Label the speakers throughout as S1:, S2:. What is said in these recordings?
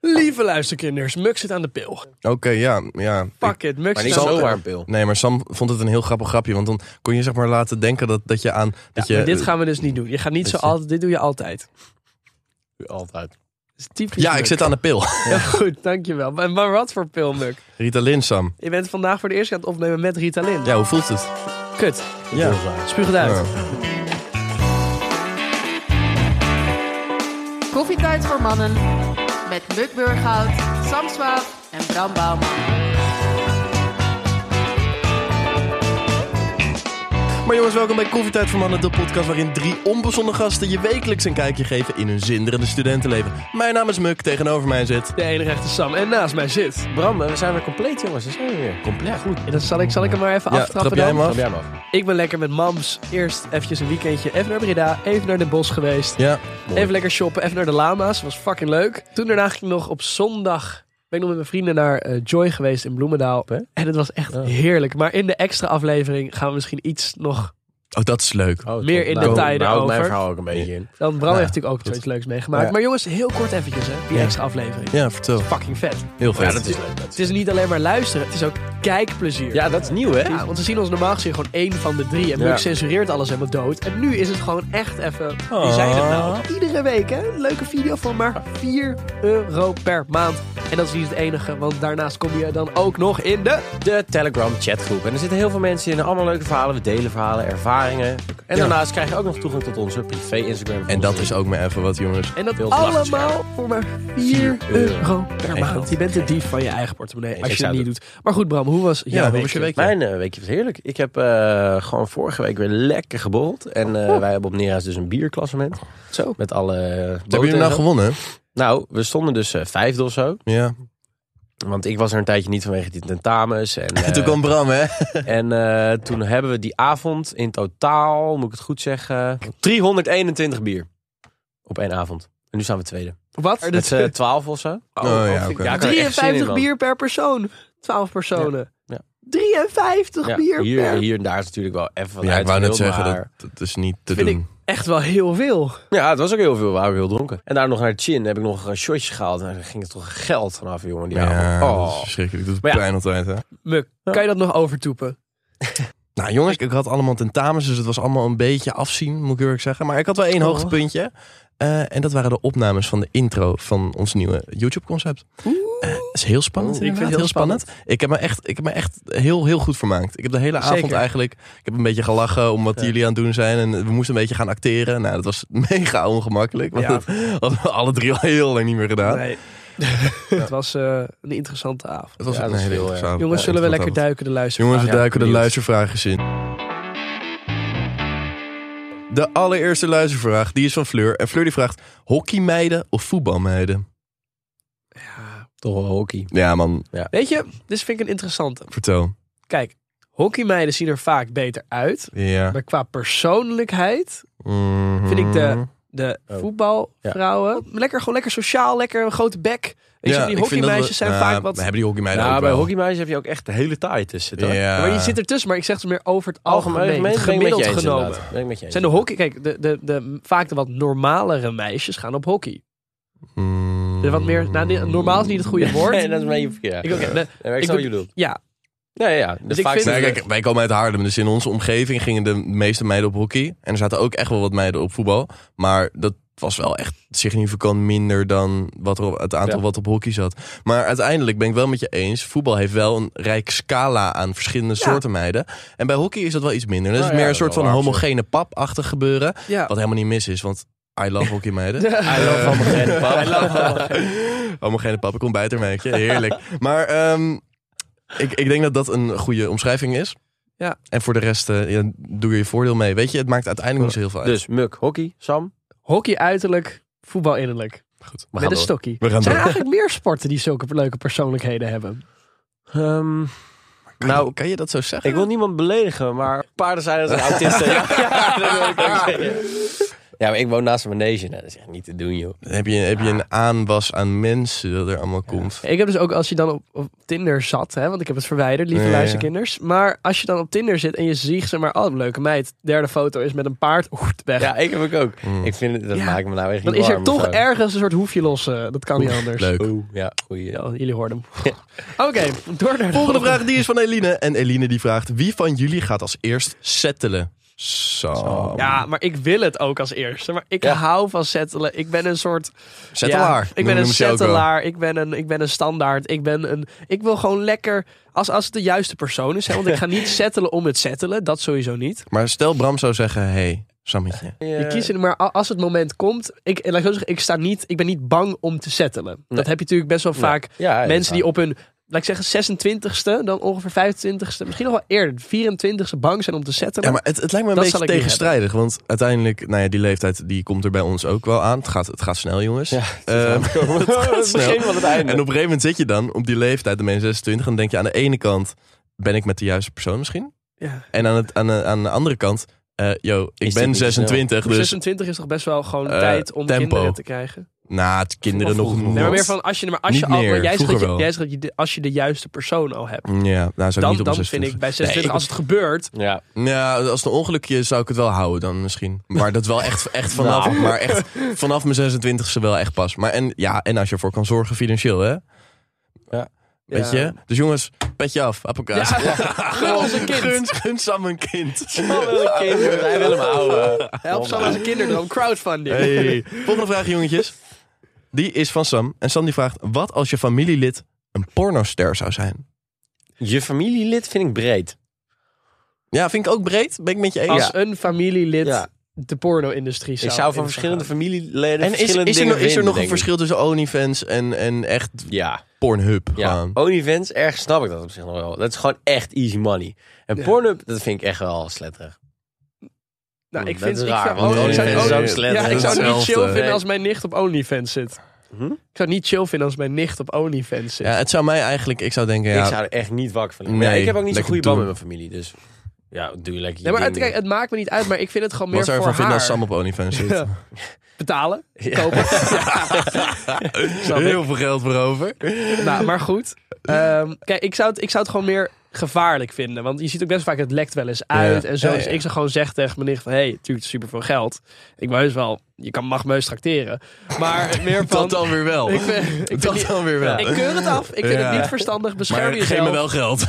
S1: Lieve luisterkinders, Muk zit aan de pil.
S2: Oké, ja, ja.
S1: Pak het, Muk
S3: Maar
S1: zit
S3: niet
S1: aan de
S2: zo
S1: pil.
S3: zomaar een pil.
S2: Nee, maar Sam vond het een heel grappig grapje. Want dan kon je zeg maar laten denken dat, dat je aan... Dat
S1: Ja,
S2: je,
S1: maar dit gaan we dus niet doen. Je gaat niet zo
S2: dat je-
S1: altijd. Dit doe je altijd.
S3: Altijd.
S1: Dat is typisch
S2: ja,
S1: Muk.
S2: ik zit aan de pil.
S1: Ja, goed, dankjewel. Maar, maar wat voor pil, Muk?
S2: Ritalin, Sam.
S1: Je bent vandaag voor de eerste keer aan het opnemen met Ritalin.
S2: Ja, hoe voelt het?
S1: Kut.
S2: Ja.
S1: Spuug het uit.
S2: Ja.
S4: Koffietijd voor mannen met Muk Burghout, Sam Swaap en Bram Bouwman.
S2: Maar jongens, welkom bij Koffietijd voor Mannen, de podcast waarin drie onbezonnen gasten je wekelijks een kijkje geven in hun zinderende studentenleven. Mijn naam is Muk, tegenover mij zit...
S1: De enige echte Sam. En naast mij zit.
S3: Bram, we zijn weer compleet, jongens. We zijn we weer.
S1: Ja, goed. En dan zal ik, zal ik hem maar even
S2: Ja,
S1: aftrappen
S2: trap jij
S1: dan?
S2: hem af?
S3: Kom jij maar af.
S1: Ik ben lekker met mams. Eerst eventjes een weekendje. Even naar Breda. Even naar Den Bosch geweest.
S2: Ja,
S1: Even lekker shoppen. Even naar de lama's. Was fucking leuk. Toen daarna ging ik nog op zondag... Ben ik nog met mijn vrienden naar eh, Joy geweest in Bloemendaal.
S3: Hè?
S1: En het was echt
S3: Ja.
S1: heerlijk. Maar in de extra aflevering gaan we misschien iets nog...
S2: oh, dat is leuk.
S3: Oh,
S1: Meer in de tijden
S3: houdt
S1: over.
S3: mijn verhaal ook een beetje in.
S1: Dan Bram
S2: Nou Ja,
S1: heeft natuurlijk ook zoiets leuks meegemaakt.
S2: Ja.
S1: Maar jongens, heel kort eventjes hè. Die
S2: Ja.
S1: extra aflevering.
S2: Ja, vertel.
S1: Fucking vet.
S2: Heel vet.
S3: Ja, dat is leuk. dat
S1: Het
S3: is-
S1: is niet alleen maar luisteren. Het is ook kijkplezier.
S3: Ja, dat is nieuw, hè?
S1: Ja, want ze zien ons normaal gezien gewoon één van de drie. En
S3: Ja.
S1: Muk censureert alles helemaal dood. En nu is het gewoon echt even...
S3: Ah.
S1: Wie zijn het nou? Iedere week, hè? Een leuke video van maar 4 euro per maand. En dat is niet het enige, want daarnaast kom je dan ook nog in de...
S3: De Telegram chatgroep. En er zitten heel veel mensen in. Allemaal leuke verhalen. We delen verhalen, ervaringen. En daarnaast krijg je ook nog toegang tot onze privé Instagram.
S2: En dat is ook maar even wat, jongens.
S1: En dat
S3: Veel
S1: allemaal
S3: vlaggenschermen.
S1: voor maar 4
S3: euro.
S1: euro per
S2: Geen
S1: maand.
S2: geld.
S1: Je bent de dief van je eigen portemonnee
S3: Nee,
S1: als
S3: ik
S1: je het
S3: zou
S1: niet doet. Maar goed, Bram, hoe was jouw
S2: hoe
S1: weekje?
S2: was je week?
S3: Mijn eh, weekje was heerlijk. Ik heb eh, gewoon vorige week weer lekker geborreld. En eh, wij hebben op Nera's dus een bierklassement.
S1: Zo.
S3: Met alle eh,
S2: Hebben
S3: boten en
S2: jullie nou
S3: zo.
S2: gewonnen?
S3: Nou, we stonden dus eh, vijfde of zo.
S2: Ja.
S3: Want ik was er een tijdje niet vanwege die tentamens. En, eh,
S2: En toen kwam Bram, hè?
S3: en eh, toen hebben we die avond in totaal, moet ik het goed zeggen, 321 bier. Op één avond. En nu staan we tweede.
S1: Wat?
S3: Met z'n 12 of zo.
S2: Dus- Oh, ja,
S1: vind ik-
S2: oké.
S3: Ja, ik had er echt zin in,
S1: 53
S3: man.
S1: bier per persoon. 12 personen.
S3: Ja.
S1: 53
S3: Ja,
S1: bier
S3: hier,
S1: per...
S3: hier en daar is natuurlijk wel even wat
S2: Ja, ik wou net
S3: uitgedeeld,
S2: zeggen,
S3: maar-
S2: dat, dat is niet te
S1: Vind ik-
S2: doen.
S1: Echt wel heel veel.
S3: Ja, het was ook heel veel. We waren ook heel dronken. En daar nog naar Chin heb ik nog een shotje gehaald. En daar ging het toch geld vanaf, jongen. Die
S2: Ja,
S3: avond.
S2: dat is
S3: Oh.
S2: verschrikkelijk. Dat doet
S3: Maar ja.
S2: pijn altijd, hè?
S1: Muk, kan je dat nog overtoepen?
S2: Nou jongens, ik had allemaal tentamens, dus het was allemaal een beetje afzien, moet ik eerlijk zeggen. Maar ik had wel één
S1: Oh.
S2: hoogtepuntje. Eh, en dat waren de opnames van de intro van ons nieuwe YouTube-concept. Eh, Het is heel spannend.
S1: Oeh, ik vind
S2: inderdaad,
S1: het heel
S2: Ik heb me echt, ik heb me echt heel, heel goed vermaakt. Ik heb de hele avond
S1: Zeker.
S2: eigenlijk. Ik heb een beetje gelachen om wat
S3: Ja.
S2: jullie aan het doen zijn. En we moesten een beetje gaan acteren. Nou, dat was mega ongemakkelijk. Want
S1: Ja.
S2: dat hadden we alle drie al heel lang niet meer gedaan.
S1: Nee. Het was eh, een interessante avond.
S2: Het was
S3: Ja,
S2: een
S3: dat is
S2: hele
S3: heel erg.
S2: interessante-
S1: Jongens,
S2: ja,
S1: zullen we lekker
S2: interessante avond.
S1: duiken de luisteren?
S2: Jongens, we
S3: Ja,
S2: duiken de
S3: benieuwd.
S2: luistervraagjes in. De allereerste luistervraag, die is van Fleur. En Fleur die vraagt, hockeymeiden of voetbalmeiden?
S3: Toch wel hockey.
S2: Ja man,
S1: Weet je, dit vind ik een interessante.
S2: vertel.
S1: Kijk, hockeymeiden zien er vaak beter uit.
S2: Ja.
S1: Maar qua persoonlijkheid,
S2: Mhm.
S1: Vind ik de- de
S3: Oh.
S1: voetbalvrouwen, lekker, gewoon lekker sociaal, lekker een grote bek. Weet je, die
S2: Ja, ik vind dat
S1: hockeymeisjes
S2: we-
S1: zijn
S2: Nou,
S1: vaak wat...
S2: we Hebben die hockeymeiden
S3: Ja,
S2: ook
S3: bij
S2: wel.
S3: hockeymeisjes heb je ook echt de hele taai tussen. toch?
S2: Ja.
S1: Maar je zit ertussen, maar ik zeg het meer over het
S3: Algemeen,
S1: algemeen.
S3: ben ik
S1: het
S3: met je
S1: gemiddeld
S3: eens,
S1: genomen.
S3: inderdaad. Ben ik met je eens.
S1: Zijn de hockey... Kijk, de, de, de, vaak de wat normalere meisjes gaan op hockey.
S2: Mhm.
S1: De wat meer... Nou, ni- normaal is niet het goede woord.
S3: Nee, dat is mijn... Ja.
S1: Ik, oké, de-
S3: Ja,
S1: ik
S3: ik snap wat
S1: bedo-
S3: je bedoelt.
S1: ja,
S3: Ja, ja, ja. Dus,
S1: ik
S3: vaak
S1: vind-
S3: zijn
S2: Nee,
S3: we-
S2: kijk, wij komen uit Haarlem, dus in onze omgeving gingen de meeste meiden op hockey. En er zaten ook echt wel wat meiden op voetbal. Maar dat was wel echt significant minder dan wat er op, het aantal
S3: Ja.
S2: wat op hockey zat. Maar uiteindelijk ben ik wel met je eens. Voetbal heeft wel een rijk scala aan verschillende soorten meiden. En bij hockey is dat wel iets minder. Dat is
S3: Nou ja,
S2: meer een
S3: dat
S2: soort
S3: is wel
S2: van
S3: waar,
S2: homogene pap-achtig gebeuren.
S1: ja.
S2: Wat helemaal niet mis is, want I love hockey meiden.
S3: I
S1: Eh,
S3: love homogene pap.
S2: Homogene pap, ik kom bij het ermee. Heerlijk. Maar ehm, ik, ik denk dat dat een goede omschrijving is.
S1: Ja.
S2: En voor de rest eh, ja, doe er je voordeel mee. Weet je, het maakt uiteindelijk niet zo heel veel uit.
S3: Dus Muk, hockey, Sam.
S1: Hockey uiterlijk, voetbal innerlijk.
S2: Goed.
S3: We
S1: met
S3: gaan
S1: een
S3: door.
S1: stokkie.
S2: We gaan
S1: Zijn er
S2: door.
S1: eigenlijk meer sporten die zulke leuke persoonlijkheden hebben?
S3: Ehm,
S2: Kan
S3: nou,
S2: je, kan je dat zo zeggen?
S3: ik wil niemand beledigen, maar paarden zijn als een autisten. ja, ja, dat wil ik ook zeggen. Ja, maar ik woon naast een manege. Nou, dat is echt niet te doen, joh.
S2: Dan heb je, heb je een aanwas aan mensen dat er allemaal komt.
S1: Ik heb dus ook, als je dan op, op Tinder zat, hè, want ik heb het verwijderd, lieve
S2: Ja, ja.
S1: luisterkinders. Maar als je dan op Tinder zit en je ziet ze maar, oh, leuke meid, derde foto is met een paard, oeh, weg.
S3: Ja, ik heb ik ook.
S2: Mm.
S3: Ik vind het, dat
S1: Ja.
S3: maakt me nou echt
S1: dan
S3: niet
S1: is er
S3: warm
S1: toch
S3: of zo.
S1: ergens een soort hoefje los. eh, dat kan niet anders.
S2: Leuk.
S3: Oeh, ja, goeie.
S1: Ja, jullie hoorden hem. Oké, door naar de
S2: Volgende vraag die is van Eline. En Eline die vraagt, wie van jullie gaat als eerst settelen? Zo.
S1: Ja, maar ik wil het ook als eerste. Maar ik
S3: Ja.
S1: hou van settelen. Ik ben een soort... Ja,
S2: Settelaar.
S1: ik ben
S2: Noemen
S1: een
S2: ze ook wel.
S1: settelaar. Ik ben een, ik ben een standaard. Ik ben een... Ik wil gewoon lekker... Als, als het de juiste persoon is. Hè, want ik ga niet settelen om het settelen. Dat sowieso niet.
S2: Maar stel Bram zou zeggen, hé, hey, Sammetje.
S1: Je kiest het, maar a- als het moment komt... Ik, laat ik zo zeggen, ik, sta niet, ik ben niet bang om te settelen. Dat heb je natuurlijk best wel vaak.
S3: Ja, ja,
S1: mensen
S3: ja.
S1: die op hun... Laat ik zeggen 26e, dan ongeveer 25e, misschien nog wel eerder, 24e bang zijn om te settelen.
S2: Ja, maar het, het lijkt me een
S1: Nou, Dat zal ik
S2: beetje
S1: niet
S2: tegenstrijdig. Want uiteindelijk, nou ja, die leeftijd die komt er bij ons ook wel aan. Het gaat, het gaat snel, jongens.
S3: Ja,
S2: Ehm,
S3: het
S2: gaat snel.
S3: begin van het einde.
S2: En op een gegeven moment zit je dan op die leeftijd, dan ben je 26, en dan denk je aan de ene kant, ben ik met de juiste persoon misschien?
S1: Ja.
S2: En aan, het, aan, de, aan de andere kant, eh yo, ik
S3: Is dit
S2: ben
S3: niet
S2: 26,
S1: Maar
S2: dus
S1: 26 is toch best wel gewoon
S2: Eh,
S1: tijd om
S2: tempo.
S1: kinderen te krijgen.
S2: na het kinderen
S3: Vroeger
S2: nog...
S3: vroeger.
S1: Nee, maar
S2: nog-
S1: meer van als je, maar als
S2: Niet
S1: je al,
S2: meer,
S1: maar jij zegt, dat
S2: vroeger
S1: je,
S2: wel.
S1: jij zegt dat je de- als je de juiste persoon al hebt,
S2: Ja, nou zou ik
S1: dan,
S2: niet op
S1: dan
S2: mijn
S1: vind
S2: 26.
S1: ik bij 26
S2: Nee, ik-
S1: als het gebeurt.
S3: Ja,
S2: Ja, als het een ongelukje is, zou ik het wel houden dan misschien. Maar dat wel echt, echt vanaf,
S3: Nou.
S2: maar echt vanaf mijn 26e wel echt pas. Maar en, ja, en als je ervoor kan zorgen financieel, hè?
S3: Ja.
S2: Weet
S1: Ja.
S2: je? Dus jongens, petje af, appelkaas.
S1: Ja, gun ons een kind.
S2: Gun, gun Sam een kind.
S3: Oh, een kind, wij willen hem houden.
S1: Help Sam als een kinderdroom, crowdfunding.
S2: Hey. Volgende vraag, jongetjes. Die is van Sam. En Sam die vraagt, wat als je familielid een pornoster zou zijn?
S3: Je familielid vind ik breed.
S2: Ja, vind ik ook breed. Ben ik met je eens.
S1: Als een familielid
S3: Ja.
S1: de porno-industrie zou
S3: ik zou van
S1: in
S3: verschillende
S1: gaan.
S3: familieleden
S2: En is,
S3: verschillende
S2: is, er,
S3: dingen
S2: nog- is er
S3: vinden,
S2: nog een
S3: denk ik.
S2: verschil tussen OnlyFans en, en echt
S3: Ja,
S2: Pornhub?
S3: ja.
S2: gewoon?
S3: OnlyFans, erg snap ik dat op zich nog wel. Dat is gewoon echt easy money. En
S1: Ja.
S3: Pornhub, dat vind ik echt wel sletterig.
S1: Nou, ik
S3: Dat
S1: vind
S3: is
S1: ik
S3: raar,
S1: zou-
S3: want
S1: oh, ik zou-
S2: OnlyFans is
S1: oh,
S2: ook
S1: ja,
S2: slecht.
S1: ik zou het niet
S2: Hetzelfde.
S1: chill vinden
S3: Nee.
S1: als mijn nicht op OnlyFans zit.
S3: Hm?
S1: Ik zou het niet chill vinden als mijn nicht op OnlyFans zit.
S2: Ja, het zou mij eigenlijk, ik zou denken, ja,
S3: Ik zou er echt niet wakker van liggen. Maar
S2: Nee,
S3: ja, ik heb ook niet zo'n
S2: lekker
S3: goede band
S2: doen.
S3: met mijn familie, dus... Ja, doe je lekker je
S1: nee, maar het,
S3: ding.
S1: kijk, het maakt me niet uit, maar ik vind het gewoon
S2: wat
S1: meer
S2: zou je
S1: voor
S2: ervan vinden als
S1: haar.
S2: Sam op OnlyFans zit?
S1: Ja. Betalen, kopen. Snap ik.
S2: Heel veel geld voor over.
S1: Nou, maar goed. Ehm, kijk, ik zou, het, ik zou het gewoon meer gevaarlijk vinden. Want je ziet ook best vaak, het lekt wel eens uit.
S2: Ja.
S1: En zo.
S2: Ja,
S1: Dus
S2: ja.
S1: ik zou gewoon zeggen tegen mijn nicht van... Hé, hey, natuurlijk super veel geld. Ik wou heus wel... Je kan, mag me heus tracteren. Maar meer van...
S2: Dat dan weer wel.
S1: ik, vind- ik, vind
S2: dat
S1: niet-
S2: dan weer wel.
S1: ik keur het af. Ik vind
S2: Ja.
S1: het niet verstandig. Bescherm
S2: maar geef
S1: jezelf.
S2: me wel geld.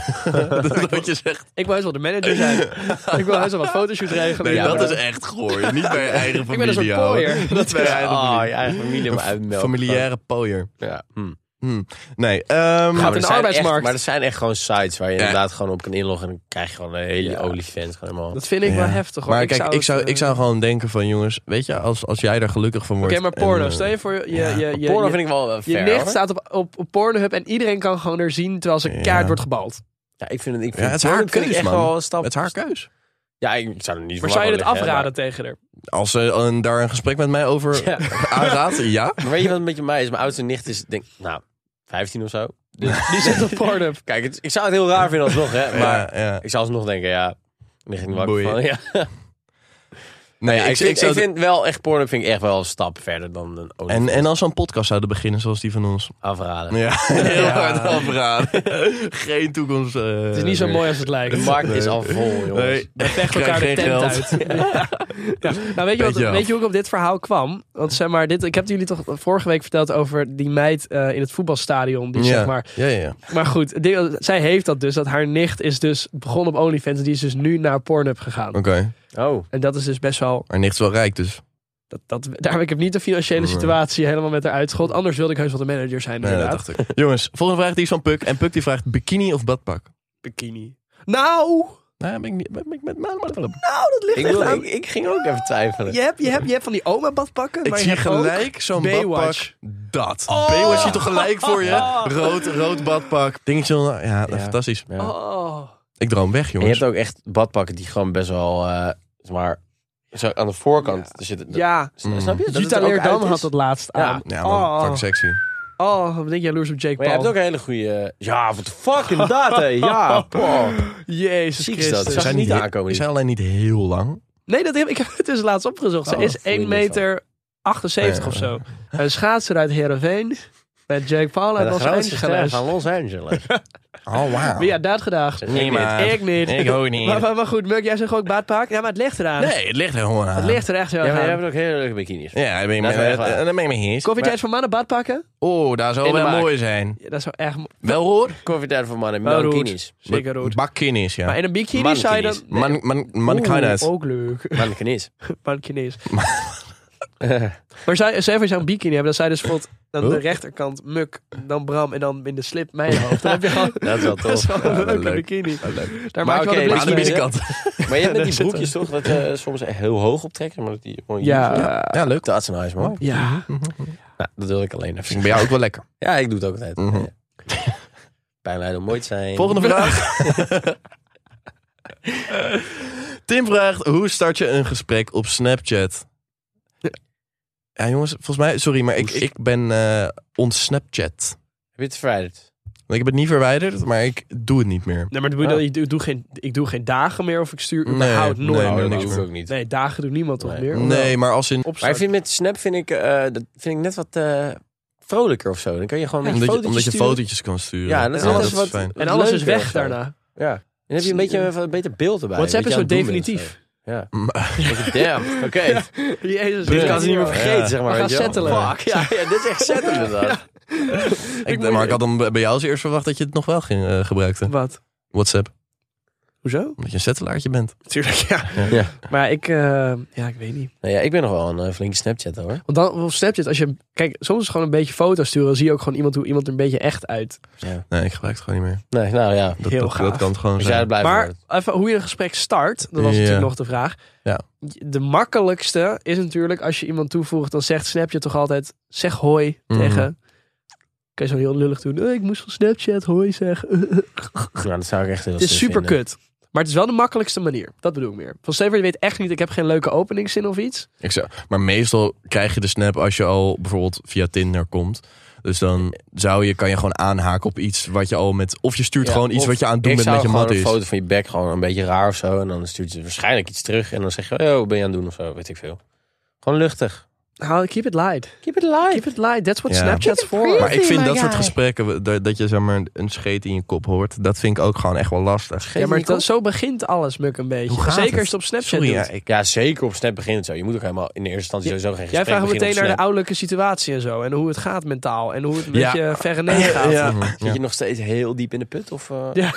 S2: dat is wat je zegt.
S1: Ik wil heus wel de manager zijn. ik wil heus wel wat fotoshoot regelen.
S2: Nee,
S1: Ja,
S2: dat
S1: maar-
S2: is echt goor. Niet bij je eigen familie.
S1: ben een soort
S2: ouwe.
S1: pooier.
S2: Niet bij je eigen
S3: Oh,
S2: familie.
S3: je eigen familie maar uitmelken.
S2: Familiaire pooier.
S3: Ja. Hm.
S2: Hm. Nee, ehm,
S1: Gaat
S3: Maar
S1: in
S3: er
S1: de
S3: zijn
S1: arbeidsmarkt.
S3: echt- maar er zijn echt gewoon sites waar je inderdaad gewoon op kan inloggen. En dan krijg je gewoon een hele OnlyFans. Gewoon helemaal.
S1: Dat vind ik wel
S2: ja.
S1: heftig. Hoor.
S2: Maar kijk, ik,
S1: het,
S2: zou,
S1: eh,
S2: ik zou gewoon denken van jongens, weet je, als, als jij daar gelukkig van wordt.
S1: Oké, maar
S2: en,
S1: porno.
S2: eh,
S1: Stel je voor... Je,
S2: ja.
S1: je, je,
S3: Porno
S1: je-
S3: vind ik wel eh,
S1: je
S3: fair,
S1: nicht
S3: hoor.
S1: staat op, op, op Pornhub en iedereen kan gewoon er zien terwijl ze
S2: Ja.
S1: kaart wordt gebald.
S3: Ja, ik vind het, ik vind
S2: Ja, het is
S3: porno
S2: haar
S3: vind ik
S2: keus,
S3: echt
S2: man.
S3: wel een stap.
S2: Het is haar keus.
S3: Ja, ik zou er niet
S1: Maar
S3: van
S1: zou je dit
S3: wakker liggen, hè,
S1: afraden tegen haar?
S2: Als ze eh, daar een gesprek met mij over
S3: Ja.
S2: aanraadt, ja.
S3: Maar, maar weet je wat een beetje mij is? Mijn oudste nicht is, denk nou, 15 of zo. Dus,
S1: Die zit op Pornhub.
S3: kijk, het- ik zou het heel raar vinden alsnog, hè. Maar
S2: ja, ja.
S3: ik zou alsnog denken, ja, lig ik niet wakker
S2: Boeien.
S3: van. Ja.
S2: Nee,
S3: Ja,
S2: ik,
S3: ik, vind,
S2: ik zou
S3: ik vind wel echt porno vind ik echt wel een stap verder dan een
S2: En,
S3: OnlyFans
S2: en als we een podcast zouden beginnen zoals die van ons.
S3: afraden.
S2: Ja, heel hard afraden. Geen toekomst. eh,
S1: Het is niet zo
S2: meer.
S1: mooi als het
S3: De
S1: lijkt.
S3: markt
S2: Nee.
S3: is al vol, jongens.
S2: Nee,
S1: We vechten elkaar de
S2: Krijg geen
S1: tent
S2: geld.
S1: uit. Ja. Nou, weet je, wat,
S2: Beetje af.
S1: weet je hoe ik op dit verhaal kwam? Want zeg maar, dit, ik heb jullie toch vorige week verteld over die meid eh, in het voetbalstadion. Die,
S2: ja.
S1: Dus zeg maar,
S2: ja, ja, ja.
S1: maar goed, het ding- zij heeft dat dus. Dat haar nicht is dus begonnen op OnlyFans. En die is dus nu naar Pornhub gegaan.
S2: Oké.
S3: Oh,
S1: En dat is dus best wel...
S2: Maar nicht is wel rijk, dus.
S1: Dat, dat, daar, ik heb niet de financiële
S2: Nee.
S1: situatie helemaal met haar uitschot. Anders wilde ik heus wel de manager zijn.
S2: Nee, dat
S1: inderdaad.
S2: dacht ik. Jongens, volgende vraag die is van Puk. En Puk die vraagt bikini of badpak?
S1: Bikini. Nou,
S2: Nou, ben ik niet... Ben ik met maar- maar- maar-
S1: dat ligt
S3: ik,
S1: echt
S3: wil,
S1: aan.
S3: ik, ik ging ook even twijfelen.
S1: Je hebt, je, hebt, je hebt van die oma badpakken.
S2: Ik
S1: maar je
S2: zie
S1: hebt ook-
S2: gelijk zo'n
S1: Baywatch. Oh!
S2: badpak. Dat. Baywatch zie je toch gelijk voor je? Rood, rood badpak. Dingetje. Ja,
S3: Ja.
S2: fantastisch.
S3: Ja.
S1: Oh.
S2: Ik droom weg,
S3: En je
S2: jongens.
S3: hebt ook echt badpakken die gewoon best wel, eh, zeg maar, zo aan de voorkant
S1: Ja.
S3: er zitten.
S1: Ja.
S3: S- Snap je? Dat het
S1: Jutta
S3: er ook
S1: Leerdam
S3: uit
S1: had
S3: is.
S1: het laatst
S3: Ja.
S1: aan.
S2: Ja, man.
S1: Oh.
S2: Fuck sexy.
S1: Oh, wat ben ik jaloers op Jake
S3: Maar je
S1: Paul.
S3: hebt ook een hele goede. Ja, wat de fuck, inderdaad, hé. Ja, Paul.
S1: Jezus
S3: Ziek is
S1: Christus.
S3: dat. Zag je niet
S2: he-
S3: aankomen,
S2: Ze zijn alleen niet heel lang.
S1: Nee, dat heb, ik heb het dus laatst opgezocht. Ze
S3: Oh,
S1: is
S3: dat voel je
S1: 1
S3: niet
S1: meter 78 of zo. Een schaatser uit Heerenveen. Met Jake Paul uit
S3: de
S1: Los
S3: grootste ster
S1: Angeles.
S3: van Los Angeles.
S2: Oh, wauw.
S1: Maar ja, daadgedaagd.
S3: Nee, maar-
S1: Ik niet.
S2: Ik ook niet.
S1: Maar, maar, maar goed, Muk, jij zegt ook baardpaak. Ja, maar het ligt eraan.
S2: Nee, het ligt er gewoon aan.
S1: Het ligt er echt zo
S3: Ja, maar
S1: aan.
S3: jij hebt ook hele leuke bikinis.
S2: Ja, daar ben je
S3: Dat is
S2: mee-
S3: echt waar.
S2: eh, daar ben je mee eens.
S1: Koffietijd voor mannen, baardpakken?
S2: Oh, daar zou
S3: In de
S2: wel
S3: maak.
S2: mooi zijn.
S1: Ja, dat is wel echt mo-
S2: Wel hoor.
S3: Koffietijd voor mannen,
S1: Wel roet.
S3: mankinis.
S1: zeker rood.
S2: Bakkinis, ja.
S1: Maar in een bikini zou je dan...
S3: Mankinis.
S2: Man, man, man kan
S1: Oeh, oh.
S2: het.
S1: Ook leuk.
S3: Mankinis.
S1: Mankinis. Maar zij, zij voor zo'n bikini hebben, dan zij dus bijvoorbeeld aan de
S2: Huh?
S1: rechterkant Muk, dan Bram en dan in de slip mijn hoofd. Dan heb je gewoon...
S3: Dat is wel tof.
S1: Best wel een
S2: Ja, wel
S1: leuke
S2: leuk.
S1: bikini. Daar
S3: Maar
S1: maak je wel
S3: oké,
S1: een blik
S2: Maar aan de
S1: mee.
S2: binnenkant.
S3: Maar je hebt met die
S1: zit
S3: broekjes toch, dat eh, soms echt heel hoog optrekken. Maar dat die gewoon
S1: Ja.
S2: Ja, leuk.
S3: Dat is nice, man.
S1: Ja.
S3: Nou, dat wil ik alleen even
S2: Vind ik bij jou ook wel lekker.
S3: Ja, ik doe het ook altijd.
S2: Mhm.
S3: Ja. Pijnlijden om mooi te zijn.
S2: Volgende vraag. Tim vraagt, hoe start je een gesprek op Snapchat? Ja jongens, volgens mij, sorry, maar ik,
S3: Hoe-
S2: ik ben eh ontsnapchat.
S3: Heb je het verwijderd?
S2: Ik heb het niet verwijderd, maar ik doe het niet meer.
S1: Nee, maar dat bedoel ik, ik doe geen, ik doe geen dagen meer of ik stuur
S2: Nee,
S1: überhaupt
S2: nee,
S1: nooit.
S2: nee,
S1: meer.
S2: nee.
S3: Nou, dat
S2: niks
S3: hoeft
S2: meer.
S3: ook niet.
S1: Nee, dagen doet niemand toch
S3: Nee.
S1: meer?
S2: Nee, maar als in...
S1: Opstart.
S3: Maar ik vind met Snap vind ik, eh, dat vind ik net wat eh, vrolijker of zo. Dan kan je gewoon met
S2: Omdat je,
S3: fotootjes
S2: omdat je
S3: sturen.
S2: fotootjes kan sturen.
S3: Ja, dat is
S1: Ja,
S3: net
S1: dat
S3: even
S1: is
S3: wat,
S2: fijn.
S1: en alles is
S3: leuker of
S1: weg
S3: zo.
S1: daarna.
S3: Ja. En dan heb je een beetje een wat beter beeld erbij.
S1: WhatsApp
S3: wat
S1: is
S3: je
S1: zo
S3: aan het doen bent
S1: definitief.
S3: of zo. Dat je, Damn, oké.
S1: Jezus.
S3: Dit
S1: ja.
S3: kan ze niet meer
S1: We
S3: vergeten,
S2: Ja.
S3: zeg maar.
S1: gaan
S3: weet je wel.
S1: settelen.
S3: Fuck, ja, ja, dit is echt settelen inderdaad.
S2: Ik, maar ik had dan bij jou als eerst verwacht dat je het nog wel ging eh, gebruikte.
S1: Wat?
S2: WhatsApp.
S1: Hoezo?
S2: Omdat je een settelaartje bent.
S1: Tuurlijk, ja.
S3: Ja.
S1: Maar ik, eh, ja, ik weet niet.
S3: Nou ja, ik ben nog wel een eh, flinke Snapchatter hoor.
S1: Want dan op Snapchat, als je, kijk, soms is gewoon een beetje foto's sturen, dan zie je ook gewoon iemand hoe iemand er een beetje echt uit.
S2: Nee, ik gebruik het gewoon niet meer.
S3: Nee, nou ja.
S2: Dat,
S1: Heel
S2: dat,
S1: gaaf.
S2: dat kan het gewoon
S3: Als jij
S2: zijn.
S3: het blijft
S1: Maar
S3: worden.
S1: even hoe je een gesprek start, dat was
S2: Ja.
S1: natuurlijk nog de vraag.
S2: Ja.
S1: De makkelijkste is natuurlijk als je iemand toevoegt, dan zegt Snapchat toch altijd: zeg hoi
S2: Mhm.
S1: tegen. Kun je zo heel lullig doen. Eh, ik moest van Snapchat hoi zeggen.
S3: Nou, dat zou ik echt heel
S1: het is
S3: suf
S1: super
S3: vinden.
S1: kut. Maar het is wel de makkelijkste manier. Dat bedoel ik meer. Van Steven, je weet echt niet, ik heb geen leuke openingszin of iets.
S2: Ik zou, maar meestal krijg je de snap als je al bijvoorbeeld via Tinder komt. Dus dan zou je, kan je gewoon aanhaken op iets wat je al met... Of je stuurt
S3: Ja,
S2: gewoon iets
S3: of
S2: wat je aan het doen
S3: ik
S2: bent
S3: zou
S2: met je
S3: gewoon
S2: mat
S3: een
S2: is.
S3: foto van je bek gewoon een beetje raar of zo. En dan stuurt ze waarschijnlijk iets terug. En dan zeg je, oh, wat ben je aan het doen of zo, weet ik veel. Gewoon luchtig.
S1: Hou, keep it light.
S3: Keep it live.
S1: Keep it light. That's what
S2: Ja.
S1: Snapchat's for.
S2: Maar ik vind dat soort gesprekken, dat, dat je zeg maar een scheet in je kop hoort, dat vind ik ook gewoon echt wel lastig.
S1: Ja, maar dat, zo begint alles, Muk, een beetje.
S2: Hoe gaat
S1: Zeker
S2: het?
S1: als je het op Snapchat
S2: Sorry,
S1: doet.
S2: ja, ik,
S3: Ja, zeker op Snap begint het zo. Je moet ook helemaal in de eerste instantie
S1: Ja,
S3: sowieso geen
S1: Jij
S3: gesprek
S1: vraagt
S3: beginnen
S1: meteen naar de
S3: op Snap.
S1: ouderlijke situatie en zo. En hoe het gaat mentaal. En hoe het met
S2: Ja.
S1: je verre nee gaat.
S2: ja.
S3: Zit je nog steeds heel diep in de put? Of, eh?
S1: Ja.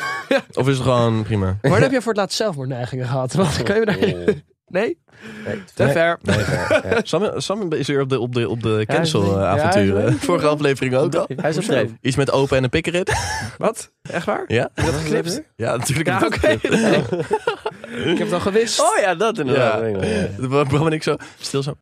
S2: Of is het gewoon prima?
S1: Waar heb je voor het laatst zelfmoordneigingen gehad? Want kan je daar...
S3: Oh.
S1: Nee?
S3: Nee,
S1: Te ver.
S3: nee, ver, ja.
S2: Sam, Sam is weer op de, op de, op de
S1: hij is leuk.
S2: cancel-avonturen.
S1: Ja, hij is leuk.
S2: Vorige aflevering ook al.
S3: Hij is op
S1: Hoezo?
S3: dreef.
S2: Iets met open en een pikkerrit.
S1: Wat? Echt waar?
S2: Ja?
S1: dat geknipt?
S2: Ja, natuurlijk.
S1: Ja, oké. Ik heb het al gewist.
S3: Oh ja, dat inderdaad.
S2: Ja.
S3: Ja. Ja.
S2: Bram en ik zo. Stil zo.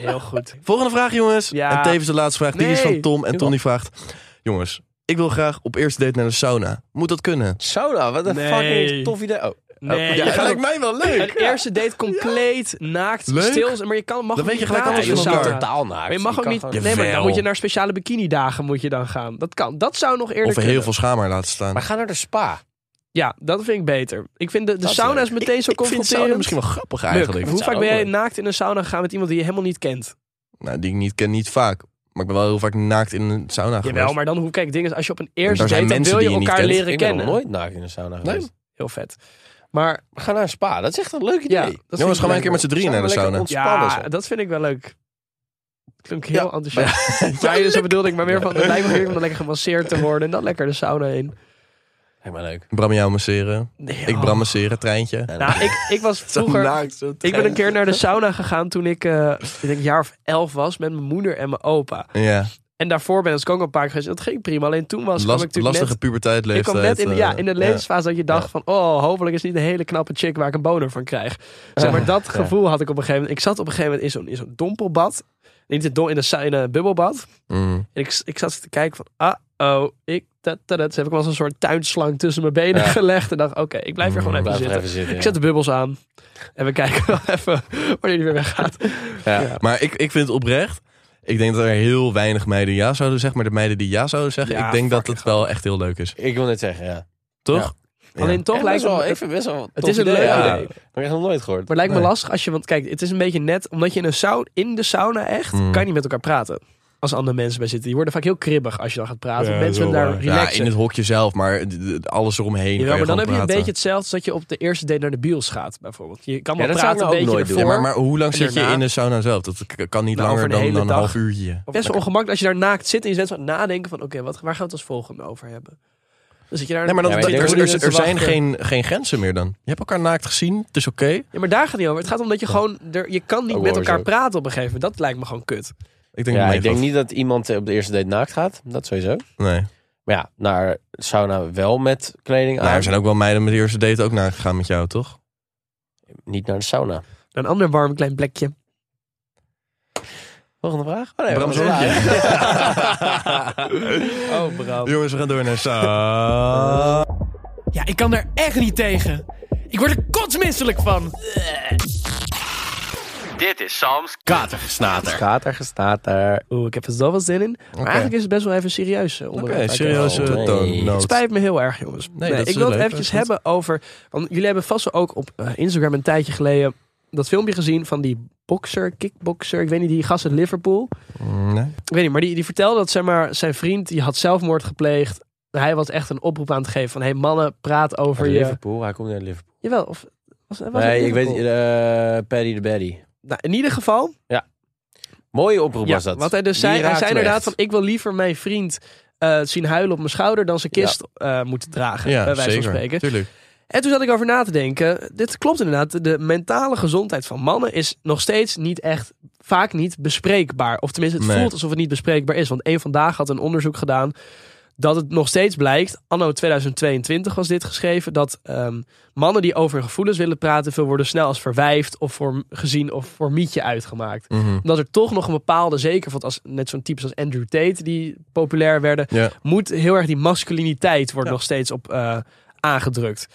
S1: Heel goed.
S2: Volgende vraag, jongens.
S1: Ja.
S2: En tevens de laatste vraag. Die is
S1: Nee.
S2: van Tom. En
S3: Doe
S2: Tom die vraagt: Jongens, ik wil graag op eerste date naar de sauna. Moet dat kunnen?
S3: Sauna, wat een
S1: Nee.
S3: fucking tof idee. Oh,
S1: Nee.
S2: ja,
S1: je gaat
S2: lijkt mij wel leuk.
S1: een eerste date compleet naakt,
S2: Leuk.
S1: stil. zijn, Maar je kan, mag
S2: Dan
S1: ook
S2: weet je
S1: niet
S2: gelijk
S1: naakt
S2: alles
S1: in de
S2: van
S1: sauna.
S2: elkaar.
S3: totaal naakt.
S1: Maar je mag ook niet...
S2: gewoon-
S1: Nee, maar dan
S2: Jawel.
S1: moet je naar speciale bikinidagen moet je dan gaan. Dat kan. Dat zou nog eerder
S2: Of heel
S1: kunnen.
S2: veel schaamhaar laten staan.
S3: Maar ga naar de spa.
S1: Ja, dat vind ik beter. Ik vind de, de
S3: Dat is
S1: sauna
S3: leuk.
S1: is meteen zo
S2: ik vind sauna
S1: confronterend.
S2: misschien wel grappig
S1: Muk,
S2: eigenlijk.
S1: hoe
S3: zou
S1: vaak
S3: ook
S1: ben jij
S3: leuk.
S1: naakt in een sauna gegaan met iemand die je helemaal niet kent?
S2: Nou, die ik niet ken, niet vaak. Maar ik ben wel heel vaak naakt in een sauna geweest.
S1: Jawel, maar dan hoe kijk dingen als je op een
S2: Er
S1: eerste
S2: zijn
S1: date dan
S2: mensen
S1: wil je
S2: die je niet
S1: elkaar
S2: kent.
S1: leren
S3: ik ben
S1: kennen.
S3: nog nooit naakt in de sauna geweest.
S1: Heel vet. Maar
S3: We gaan naar een spa. Dat is echt een leuk idee.
S1: ja,
S3: Ja,
S1: dat
S2: Jongens, gaan
S1: vind
S2: wij
S1: ik
S2: een keer met z'n drieën naar de
S3: Sauna
S2: sauna.
S3: lekker
S1: ja,
S3: ontspannen zo.
S1: dat vind ik wel leuk. Klink heel
S2: Ja.
S1: enthousiast. Ja, dus dat bedoelde ik maar meer van het lijkt me heerlijk om dan lekker gemasseerd te worden en dan lekker de sauna in.
S3: Lijkt mij leuk.
S2: Bram jou masseren.
S1: Nee,
S2: Ik
S1: oh.
S2: Bram masseren, treintje.
S1: Nou, ik, ik was
S2: Zo
S1: vroeger.
S2: naakt, zo
S1: Ik ben een keer naar de sauna gegaan toen ik, eh, ik denk een jaar of elf was met mijn moeder en mijn opa.
S2: Ja,
S1: En daarvoor ben ik ook al een paar keer geweest. Dat ging prima. Alleen toen was kwam
S2: Last-
S1: ik natuurlijk
S2: lastige
S1: net
S2: puberteit eh,
S1: Ik kwam net in, de-
S3: eh,
S1: ja, in de levensfase dat je dacht
S2: Ja.
S1: van... oh, hopelijk is het niet een hele knappe chick waar ik een boner van krijg. Zeg maar, dat gevoel had ik op een gegeven moment. Ik zat op een gegeven moment in zo'n, in zo'n dompelbad. Niet in, don, in, een, sa- in een bubbelbad.
S2: Mm.
S1: En ik, ik zat te kijken van... ah-oh, ik... Dat, dat, dat. Dus heb ik wel eens een soort tuinslang tussen mijn benen
S3: Ja.
S1: gelegd. En dacht, oké, ik blijf hier
S2: Mm,
S1: gewoon even
S3: Blijf er
S1: zitten.
S3: even zitten.
S1: Ik zet de bubbels aan. En we kijken wel even wanneer die weer weggaat.
S3: ja.
S1: Ja.
S2: Maar ik, ik vind het oprecht. Ik denk dat er heel weinig meiden ja zouden zeggen. Maar de meiden die ja zouden zeggen,
S1: Ja,
S2: ik denk dat
S1: fucking
S2: het wel echt heel leuk is.
S3: Ik wil net zeggen, ja.
S2: Toch?
S1: Alleen toch
S3: Ja,
S1: lijkt
S3: best wel,
S1: me...
S3: ik vind best wel
S1: Het is een
S3: idee.
S1: leuk
S3: Ja.
S1: idee.
S3: Ik heb het nog nooit gehoord.
S1: Maar het lijkt me
S2: Nee.
S1: lastig als je... Want kijk, het is een beetje net... Omdat je in, een sau- in de sauna echt...
S2: Mm.
S1: Kan je niet met elkaar praten. Als andere mensen bij zitten. Die worden vaak heel kribbig als je dan gaat praten.
S5: Ja, dat is
S1: mensen
S5: wel
S1: daar
S3: eh,
S5: waar.
S2: Ja,
S1: relaxen.
S2: in het hokje zelf, maar d- d- alles eromheen.
S1: Jawel,
S2: kan
S1: maar dan heb
S2: gewoon
S1: je een
S2: praten.
S1: beetje hetzelfde als dat je op de eerste date naar de bios gaat, bijvoorbeeld. Je kan wel
S3: dat zou ik
S1: praten een
S3: nou ook
S1: beetje
S3: nooit
S1: ervoor.
S3: doen.
S2: Ja, maar, maar hoe lang
S1: En
S2: zit je
S1: daarna-
S2: in de sauna zelf? Dat k- kan niet
S1: Nou,
S2: langer
S1: over de
S2: dan,
S1: hele
S2: dan een
S1: dag.
S2: half uurtje.
S1: Best wel ongemakkelijk als je daar naakt zit en je zet van nadenken van oké, wat waar gaan we het als volgende nou over hebben? Dan zit je daar.
S2: Nee, maar, dat,
S3: Ja, maar
S2: dat-
S3: ik
S2: er,
S3: denk
S1: hoe je
S2: er- er
S1: zit te
S2: zijn
S1: wachten.
S2: geen, geen grenzen meer dan. Je hebt elkaar naakt gezien, het is oké.
S1: Ja, maar daar gaat het niet over. Het gaat om dat je gewoon er, je kan niet
S3: Ook
S1: met
S3: wel
S1: elkaar
S3: zo.
S1: praten op een gegeven moment. Dat lijkt me gewoon kut.
S2: Ik denk,
S3: Ja,
S2: nee,
S3: ik denk
S2: dat-
S3: niet dat iemand eh, op de eerste date naakt gaat. Dat sowieso.
S2: Nee.
S3: Maar ja, naar sauna wel met kleding aan.
S2: Nou, er zijn ook wel meiden met de eerste date ook naakt gegaan met jou, toch?
S3: Niet naar de sauna.
S1: Een ander warm klein plekje.
S3: Volgende vraag. Oh,
S2: Bram
S3: was
S2: Zorgje.
S3: klaar.
S1: Oh, bro.
S2: Jongens, we gaan door naar sauna.
S6: Ja, ik kan er echt niet tegen. Ik word er kotsmisselijk van.
S7: Dit is Sam's Katergesnater.
S3: Kater gestaat daar.
S1: Oeh, ik heb er zoveel zin in. Maar eigenlijk is het best wel even serieus eh,
S2: Oké,
S1: onderwerp. waar ik
S2: serieuze
S3: Oh, nee.
S2: toonnoot.
S1: Het spijt me heel erg, jongens. Nee,
S2: dat is
S1: ik wil het
S2: leuk,
S1: eventjes
S2: dat is
S1: hebben over... Want jullie hebben vast wel ook op eh, Instagram een tijdje geleden... dat filmpje gezien van die bokser, kickbokser... ik weet niet, die gast uit Liverpool.
S2: Mm, Nee.
S1: Ik weet niet, maar die, die vertelde dat zeg maar, zijn vriend... die had zelfmoord gepleegd. Hij was echt een oproep aan het geven van... hé hey, mannen, praat over je...
S3: Liverpool. Hij komt naar Liverpool.
S1: Jawel, of... Was, was het
S3: Oh, Nee, ik weet
S1: Liverpool?
S3: niet. eh, Paddy de Baddy.
S1: Nou, in ieder geval,
S3: Mooie oproep was
S1: Ja,
S3: dat.
S1: Wat hij dus
S3: Die
S1: zei, hij
S3: raakte
S1: zei
S3: me
S1: inderdaad
S3: echt.
S1: van ik wil liever mijn vriend eh, zien huilen op mijn schouder dan zijn kist eh, moeten dragen,
S2: Ja,
S1: bij wijze
S2: zeker.
S1: van spreken.
S2: Tuurlijk.
S1: En toen zat ik over na te denken, dit klopt inderdaad, de mentale gezondheid van mannen is nog steeds niet echt, vaak niet bespreekbaar. Of tenminste, het
S2: Nee.
S1: voelt alsof het niet bespreekbaar is. Want één vandaag had een onderzoek gedaan dat het nog steeds blijkt, anno 2022 was dit geschreven, dat ehm, mannen die over hun gevoelens willen praten, veel worden snel als verwijfd of voor gezien of voor mietje uitgemaakt
S2: Mhm.
S1: dat er toch nog een bepaalde zeker want als net zo'n types als Andrew Tate die populair werden
S2: Ja.
S1: moet heel erg die masculiniteit wordt nog steeds op eh, aangedrukt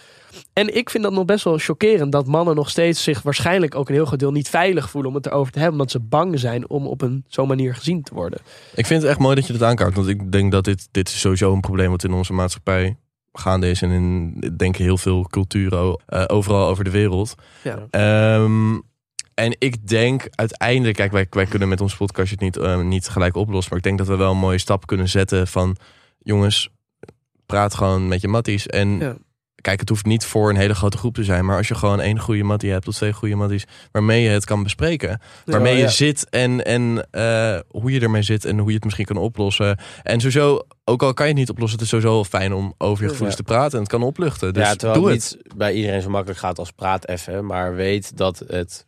S1: en ik vind dat nog best wel chockerend dat mannen nog steeds zich waarschijnlijk ook een heel groot deel niet veilig voelen om het erover te hebben omdat ze bang zijn om op een zo'n manier gezien te worden
S2: Ik vind het echt mooi dat je dit aankaart. Want ik denk dat dit, dit is sowieso een probleem wat in onze maatschappij gaande is. En in, ik denk heel veel culturen o- eh, overal over de wereld.
S1: Ja.
S2: Ehm, en ik denk uiteindelijk, kijk, wij, wij kunnen met ons podcast het niet, eh, niet gelijk oplossen. Maar ik denk dat we wel een mooie stap kunnen zetten van jongens, praat gewoon met je matties. En
S1: Ja.
S2: kijk, het hoeft niet voor een hele grote groep te zijn. Maar als je gewoon één goede mattie hebt of twee goede matties, waarmee je het kan bespreken waarmee je
S1: ja.
S2: zit en, en eh, hoe je ermee zit en hoe je het misschien kan oplossen. En sowieso, ook al kan je het niet oplossen, het is sowieso wel fijn om over je gevoelens
S3: Ja.
S2: te praten en het kan opluchten. Dus
S3: ja, terwijl
S2: doe
S3: het
S2: het.
S3: niet bij iedereen zo makkelijk gaat als praat even. Maar weet dat het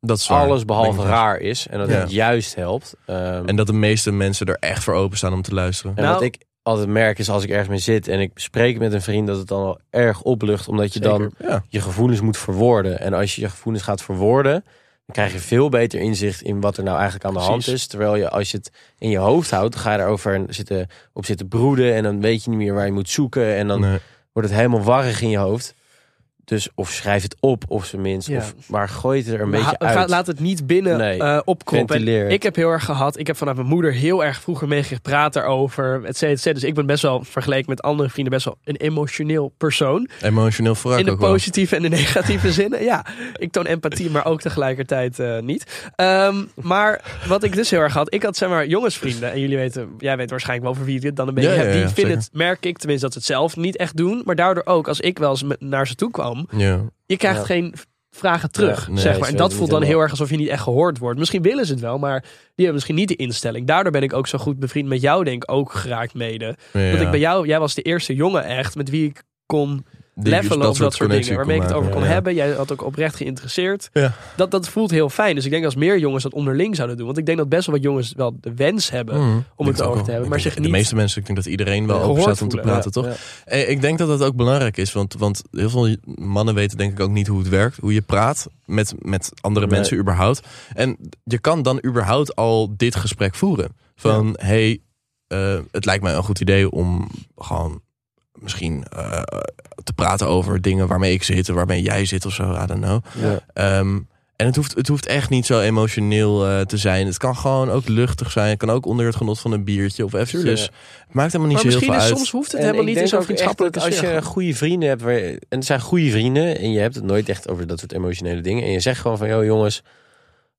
S2: Dat is waar.
S3: alles
S2: Ben
S3: behalve
S2: ik het
S3: raar is. En dat
S2: Ja.
S3: het juist helpt. Ehm,
S1: Hm.
S2: eens. En dat de meeste mensen er echt voor openstaan om te luisteren.
S3: En
S1: Nou-
S3: wat ik altijd merk is als ik ergens mee zit en ik bespreek met een vriend dat het dan wel erg oplucht. Omdat je dan
S2: Ja.
S3: je gevoelens moet verwoorden. En als je je gevoelens gaat verwoorden, dan krijg je veel beter inzicht in wat er nou eigenlijk aan de hand
S1: Precies.
S3: is. Terwijl je als je het in je hoofd houdt, dan ga je erover zitten, op zitten broeden. En dan weet je niet meer waar je moet zoeken. En dan
S2: Nee.
S3: wordt het helemaal warrig in je hoofd. Dus of schrijf het op of zijn minst.
S1: Ja.
S3: Of, maar gooi het er een
S1: Maar
S3: beetje
S1: ha- ga-
S3: uit.
S1: laat het niet binnen
S3: Nee,
S1: eh, opkroppen.
S3: ventileer
S1: En
S3: het.
S1: Ik heb heel erg gehad. Ik heb vanuit mijn moeder heel erg vroeger meegepraat daarover. Et cetera, et cetera. Dus ik ben best wel vergeleken met andere vrienden best wel een emotioneel persoon.
S2: Emotioneel vooruit
S1: In de
S2: ook wel.
S1: positieve en de negatieve zinnen. Ja, ik toon empathie, maar ook tegelijkertijd eh, niet. Ehm, maar wat ik dus heel erg had, ik had zeg maar jongensvrienden. En jullie weten, jij weet waarschijnlijk wel over wie het dan een beetje
S2: Ja,
S1: hebt.
S2: ja,
S1: Die
S2: ja,
S1: vinden
S2: zeker.
S1: het, merk ik tenminste, dat ze het zelf niet echt doen. Maar daardoor ook, als ik wel eens met- naar ze toe kwam,
S2: Ja.
S1: je krijgt
S3: Ja.
S1: geen v- vragen terug,
S2: Ja,
S1: zeg
S2: nee,
S3: ze
S1: maar. En
S3: weten
S1: dat
S3: niet
S1: voelt dan heel
S3: helemaal.
S1: erg alsof je niet echt gehoord wordt. Misschien willen ze het wel, maar die hebben misschien niet de instelling. Daardoor ben ik ook zo goed bevriend met jou, denk ik, ook geraakt mede.
S2: Ja.
S1: Want ik bij jou, jij was de eerste jongen echt met wie ik kon
S2: Die- dus
S1: levelen of dat soort
S2: connectie
S1: dingen. Waarmee ik het
S2: kon
S1: over
S2: maken.
S1: kon
S2: Ja.
S1: hebben. Jij had ook oprecht geïnteresseerd.
S2: Ja.
S1: Dat, dat voelt heel fijn. Dus ik denk als meer jongens dat onderling zouden doen. Want ik denk dat best wel wat jongens wel de wens hebben.
S2: Mhm.
S1: het
S2: Ik denk
S1: over
S2: ook
S1: te
S2: wel.
S1: hebben,
S2: Ik
S1: maar
S2: denk
S1: zich
S2: De
S1: niet
S2: meeste mensen, ik denk dat iedereen wel
S1: gehoord
S2: open staat om te
S1: voelen.
S2: praten, toch? Eh, Ik denk dat dat ook belangrijk is, want, want heel veel mannen weten denk ik ook niet hoe het werkt. Hoe je praat met, met andere
S3: Nee.
S2: mensen überhaupt. En je kan dan überhaupt al dit gesprek voeren. Van, hey, eh, het lijkt mij een goed idee om gewoon misschien eh, te praten over dingen waarmee ik zit... en waarmee jij zit of zo, I don't know.
S3: Ja.
S2: Ehm, En het hoeft, het hoeft echt niet zo emotioneel eh, te zijn. Het kan gewoon ook luchtig zijn. Het kan ook onder het genot van een biertje of even.
S3: Tuurlijk.
S2: Dus het maakt helemaal niet
S1: Maar
S2: zo heel veel
S1: misschien is,
S2: uit.
S1: soms hoeft het
S3: En
S1: helemaal
S3: ik
S1: niet in zo'n
S3: denk ook echt dat
S1: vriendschappelijke
S3: Als
S1: sfeer.
S3: je goede vrienden hebt, waar, en het zijn goede vrienden, en je hebt het nooit echt over dat soort emotionele dingen. En je zegt gewoon van, joh jongens,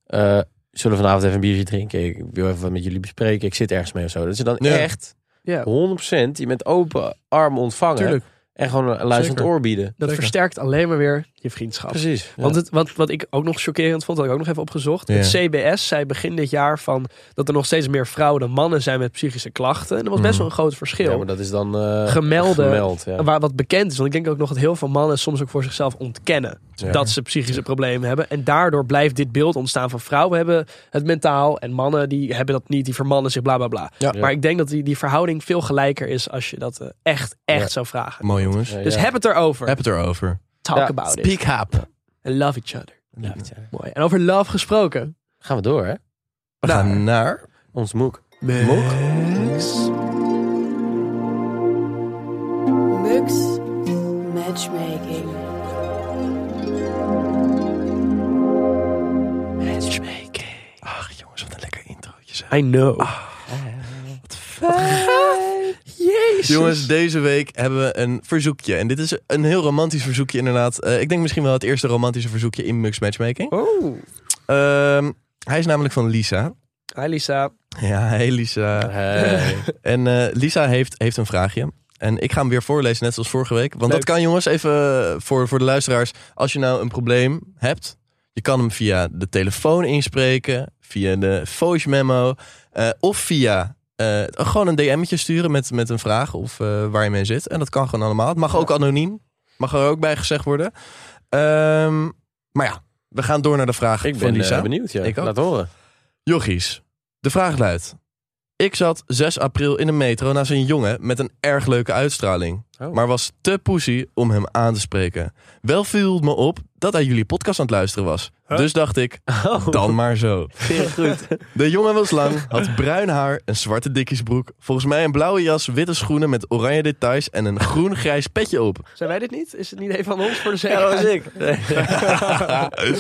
S3: eh, zullen we vanavond even een biertje drinken? Ik wil even wat met jullie bespreken. Ik zit ergens mee of zo. Dat ze dan
S2: Ja.
S3: echt
S1: Ja,
S3: 100% je met open armen ontvangen.
S2: Tuurlijk.
S3: En gewoon een luisterend
S2: Zeker.
S3: oor bieden.
S1: dat
S2: Zeker.
S1: versterkt alleen maar weer je vriendschap.
S3: Precies. Ja.
S1: Want het, wat, wat ik ook nog chockerend vond, had ik ook nog even opgezocht.
S2: Ja.
S1: Het CBS zei begin dit jaar van dat er nog steeds meer vrouwen dan mannen zijn met psychische klachten. En dat was best
S2: Mhm.
S1: wel een groot verschil.
S3: Ja, maar dat is dan eh,
S1: Gemelden.
S3: gemeld, ja.
S2: Eh.
S1: En Waar wat bekend is, want ik denk ook nog dat heel veel mannen soms ook voor zichzelf ontkennen
S2: Ja.
S1: dat ze psychische problemen hebben. En daardoor blijft dit beeld ontstaan van vrouwen hebben het mentaal en mannen die hebben dat niet, die vermannen zich bla bla bla.
S2: Ja.
S1: Maar ik denk dat die, die verhouding veel gelijker is als je dat eh, echt, echt
S3: Ja.
S1: zou vragen.
S2: Mooi jongens.
S3: Ja,
S1: Dus
S3: ja.
S1: heb het erover.
S2: Heb het erover.
S1: Talk
S3: Ja.
S1: about it.
S2: Speak up.
S1: And love each other.
S3: Ja, goed, ja.
S1: Mooi. En over love gesproken.
S3: Gaan we door, hè?
S2: We gaan naar...
S3: Ons moek.
S1: Mux.
S4: Mux Matchmaking.
S1: Matchmaking.
S2: Ach jongens, wat een lekker introotje zeg.
S1: I know.
S2: Ah.
S1: Jezus.
S2: Jongens, deze week hebben we een verzoekje. En dit is een heel romantisch verzoekje inderdaad. Eh, ik denk misschien wel het eerste romantische verzoekje in Mux Matchmaking.
S1: Oh.
S2: Ehm, hij is namelijk van Lisa.
S1: Hi Lisa.
S2: Ja, hey Lisa.
S3: Hey.
S2: En eh, Lisa heeft, heeft een vraagje. En ik ga hem weer voorlezen, net zoals vorige week.
S1: Leuk.
S2: Want dat kan, jongens, even eh, voor, voor de luisteraars. Als je nou een probleem hebt, je kan hem via de telefoon inspreken, via de voice memo eh, of via eh, gewoon een DM'tje sturen met, met een vraag of eh, waar je mee zit. En dat kan gewoon allemaal. Het mag ook anoniem, mag er ook bij gezegd worden. Ehm, maar ja, we gaan door naar de vraag
S3: Ik
S2: van
S3: ben
S2: Lisa.
S3: eh, benieuwd, ja.
S2: Ik ook.
S3: Laat horen.
S2: Jochies, de vraag luidt. Ik zat 6 april in de metro naast een jongen met een erg leuke uitstraling.
S3: Oh.
S2: Maar was te poesie om hem aan te spreken. Wel viel het me op dat hij jullie podcast aan het luisteren was. Dus dacht ik, dan maar zo.
S3: goed.
S2: De jongen was lang, had bruin haar, een zwarte dikkiesbroek. Volgens mij een blauwe jas, witte schoenen met oranje details en een groen-grijs petje op.
S1: Zijn wij dit niet? Is het niet een van ons voor de
S3: Ja,
S1: zekerheid?
S3: dat was ik.
S2: Eh,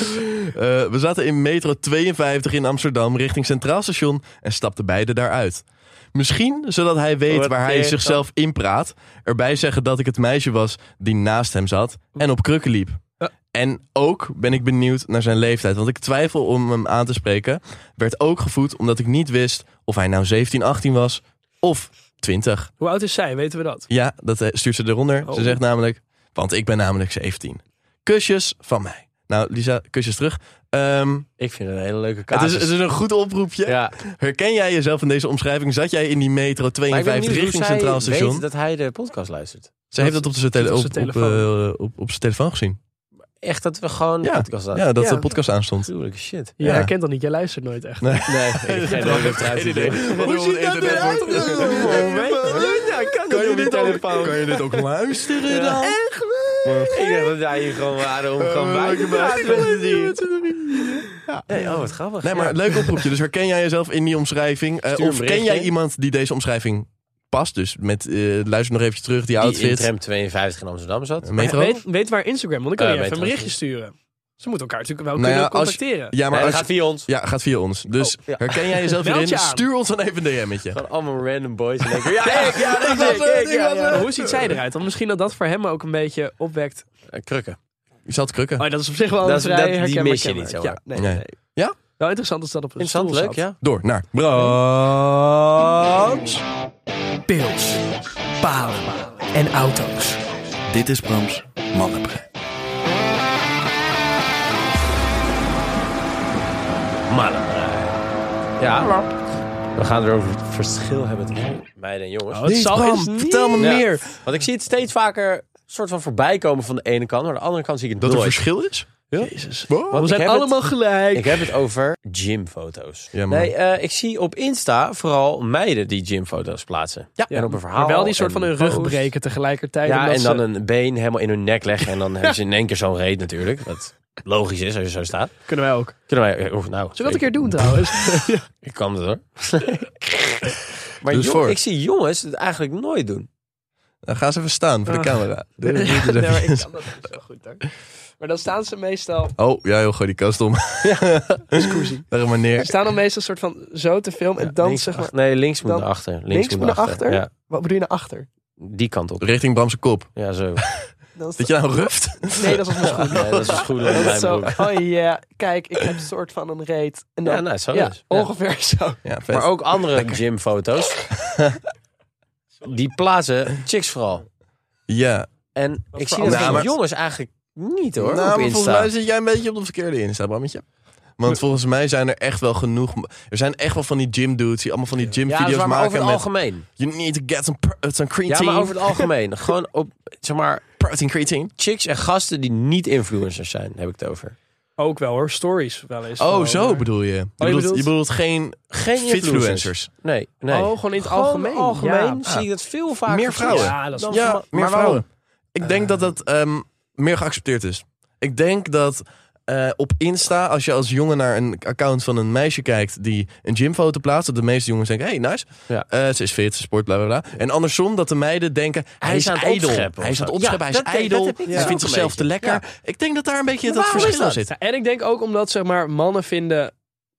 S2: we zaten in metro 52 in Amsterdam richting Centraal Station en stapten beide daaruit. Misschien zodat hij weet
S3: Wat
S2: waar hij
S3: deed
S2: zichzelf inpraat. Erbij zeggen dat ik het meisje was die naast hem zat en op krukken liep.
S1: Ja.
S2: En ook ben ik benieuwd naar zijn leeftijd, want ik twijfel om hem aan te spreken. Werd ook gevoed omdat ik niet wist of hij nou 17, 18 was of 20.
S1: Hoe oud is zij? Weten we dat?
S2: Ja, dat eh, stuurt ze eronder.
S1: Oh.
S2: Ze zegt namelijk, want ik ben namelijk 17. Kusjes van mij. Nou, Lisa, kusjes terug. Ehm,
S3: Ik vind het een hele leuke
S2: het,
S3: casus.
S2: is, het is een goed oproepje.
S3: ja.
S2: Herken jij jezelf in deze omschrijving? Zat jij in die metro
S3: Maar ik ben
S2: 52
S3: benieuwd
S2: richting
S3: hoe zij
S2: Centraal Station?
S3: weet dat hij de podcast luistert.
S2: Ze heeft dat op zijn tele-
S1: dat op
S2: op-
S1: zijn
S2: op,
S1: telefoon.
S2: eh, op- op zijn telefoon gezien.
S3: Echt dat we gewoon de
S2: Ja.
S3: podcast luisteren.
S2: Ja, dat
S1: Ja.
S2: de podcast aanstond.
S3: Tuurlijk, shit.
S1: Je
S2: Ja.
S1: herkent dat niet. Jij luistert nooit echt.
S2: Nee.
S3: Nee, ik heb geen idee wat eruit ziet.
S2: Hoe ziet dat eruit?
S1: kan,
S2: kan je dit ook luisteren dan?
S3: Ik dacht dat wij hier gewoon waren om
S2: Eh,
S3: gewoon bij te praten met z'n drieën. Nee, oh, wat grappig.
S2: Nee, maar
S3: Ja.
S2: leuk oproepje. Dus herken jij jezelf in die omschrijving? Eh,
S3: Stuur een
S2: of ken
S3: bericht,
S2: jij
S3: hè?
S2: iemand die deze omschrijving past? Dus met, eh, luister nog even terug, die
S3: Die in
S2: outfit.
S3: tram 52 in Amsterdam zat.
S2: metro?
S1: Weet, weet waar Instagram, want dan
S3: Eh,
S1: kan je even
S3: weet
S1: een
S3: waar
S1: berichtje
S3: het
S1: sturen. Ze moeten elkaar natuurlijk wel
S2: Nou
S1: kunnen
S2: ja, als-
S1: contacteren.
S2: Ja, maar
S3: Nee, dat
S2: als-
S3: gaat via ons.
S2: ja, gaat via ons. Dus
S3: ja.
S2: herken jij jezelf
S1: Meld je
S2: erin?
S1: aan.
S2: Stuur ons dan even een DM'tje.
S3: Gewoon allemaal random boys. En ik, ja, ik, ja, ik,
S2: was
S3: ik,
S2: het,
S3: ik,
S2: ik
S3: ja,
S2: was
S3: ja.
S1: Maar hoe ziet zij eruit? Want misschien dat dat voor hem ook een beetje opwekt.
S3: Eh, Krukken.
S2: Je zat krukken.
S1: Oh, dat is op zich wel
S3: Dat
S1: een
S3: is-
S1: vrij
S3: dat- die
S1: herkenbaar
S3: mis je
S1: kenmerk.
S3: niet zomaar.
S1: Ja, nee,
S2: Nee.
S1: nee.
S2: Ja?
S1: Wel interessant is dat op een
S3: Interessant,
S1: stoel
S3: leuk,
S1: zat.
S3: ja.
S2: Door naar Brams.
S6: Pils, palen en auto's.
S5: Dit is Brams Mannenbrein.
S3: Ja. We gaan erover het verschil hebben tussen meiden en jongens.
S1: Het zal
S2: Bram,
S1: eens niet-
S2: vertel me
S3: Ja.
S2: meer.
S3: Want ik zie het steeds vaker soort van voorbij komen van de ene kant. Maar de andere kant zie ik het
S2: Dat er
S3: nooit.
S2: verschil is?
S1: Jezus.
S2: Wow.
S1: We
S3: ik
S1: zijn
S3: heb het-
S1: allemaal gelijk.
S3: Ik heb het over gymfoto's.
S2: Ja, man.
S3: nee, eh, ik zie op Insta vooral meiden die gymfoto's plaatsen. Ja. En op een verhaal.
S1: maar wel die soort
S3: en
S1: van een rug
S3: post.
S1: breken tegelijkertijd.
S3: Ja,
S1: omdat
S3: en dan
S1: ze-
S3: een been helemaal in hun nek leggen. En dan hebben ze in één keer zo'n reet natuurlijk. Wat logisch is als je zo staat.
S1: Kunnen wij ook.
S3: Kunnen wij... Of, nou,
S1: Zullen we dat een
S3: ik,
S1: keer doen trouwens?
S3: ik kan dat hoor. maar
S2: Dus
S3: jong-
S2: voor.
S3: ik zie jongens het eigenlijk nooit doen.
S2: Dan ga eens even staan voor de
S1: Ah.
S2: camera.
S1: Nee, maar ik kan dat niet zo goed hoor.
S4: Maar dan staan ze meestal,
S2: Oh, ja joh, gooi die kast om.
S4: exclusie,
S2: Leg hem maar
S4: ze
S2: neer.
S4: staan dan meestal soort van zo te filmen en dan
S3: links,
S4: zeg maar,
S3: ach- Nee, links moet
S4: dan-
S3: naar achter. Links,
S4: links moet naar achter.
S3: Ja,
S4: wat bedoel je naar achter?
S3: die kant op.
S2: Richting Bramse kop.
S3: Ja, zo.
S4: Dan is
S2: Dat je nou ruft?
S4: dat- Nee, dat is mijn schoen.
S3: Nee, dat is goed
S4: Dat
S3: mijn
S4: is zo,
S3: broek.
S4: oh ja, kijk, ik heb een soort van een reet. En dan,
S3: Ja, nou, zo
S4: ja,
S3: dus. Ja.
S4: ongeveer zo.
S2: Ja, vet.
S3: Maar ook andere gymfoto's. die plaatsen chicks vooral.
S2: Ja.
S3: En ik
S2: voor
S3: zie dat
S2: andere-
S3: bij
S2: Nou, maar-
S3: jongens eigenlijk niet
S2: nou,
S3: hoor, op
S2: maar volgens
S3: Insta.
S2: mij zit jij een beetje op de verkeerde Insta, Brammetje. Want volgens mij zijn er echt wel genoeg... Er zijn echt wel van die gym dudes die allemaal van die gym
S3: Ja, dat is
S2: video's
S3: waar, maar over
S2: maken
S3: het
S2: met...
S3: algemeen.
S2: You need to get some, pr- some creatine.
S3: Ja, maar over het algemeen. Gewoon op, zeg maar,
S2: Protein creatine.
S3: chicks en gasten die niet influencers zijn, heb ik het over.
S1: Ook wel hoor, stories wel eens.
S2: Oh,
S1: gewoon, eh,
S2: zo
S3: eh,
S1: maar-
S2: bedoel je. Je, bedoelt,
S1: bedoelt-
S2: je bedoelt geen
S3: Geen influencers.
S2: influencers.
S3: Nee, nee.
S4: Oh, gewoon in het
S3: Gewoon
S4: algemeen.
S3: algemeen
S2: Ja.
S3: zie ik dat veel vaker.
S2: Meer
S3: voor
S2: vrouwen.
S3: chicks.
S1: Ja, dat is
S3: Dan
S2: Ja,
S3: voor ma-
S2: meer
S3: maar
S2: vrouwen.
S3: waarom?
S2: Ik denk dat dat ehm, meer geaccepteerd is. Ik denk dat eh, op Insta, als je als jongen naar een account van een meisje kijkt die een gymfoto plaatst, dat de meeste jongens denken, hey, nice.
S3: Ja.
S2: Eh, ze is fit, ze sport, bla bla bla. En andersom dat de meiden denken, hij,
S3: is
S2: is
S3: aan het
S2: ijdel.
S3: opscheppen
S2: Hij is aan het
S3: of zo.
S2: opscheppen,
S3: Ja,
S2: hij
S3: dat-
S2: is ijdel.
S3: dat heb ik dus
S2: Hij
S3: ook
S2: vindt
S3: een
S2: zichzelf te
S3: beetje.
S2: lekker. Ik denk dat daar een beetje dat
S3: waarom is
S2: verschil
S3: dat?
S2: zit.
S1: En ik denk ook omdat zeg maar, mannen vinden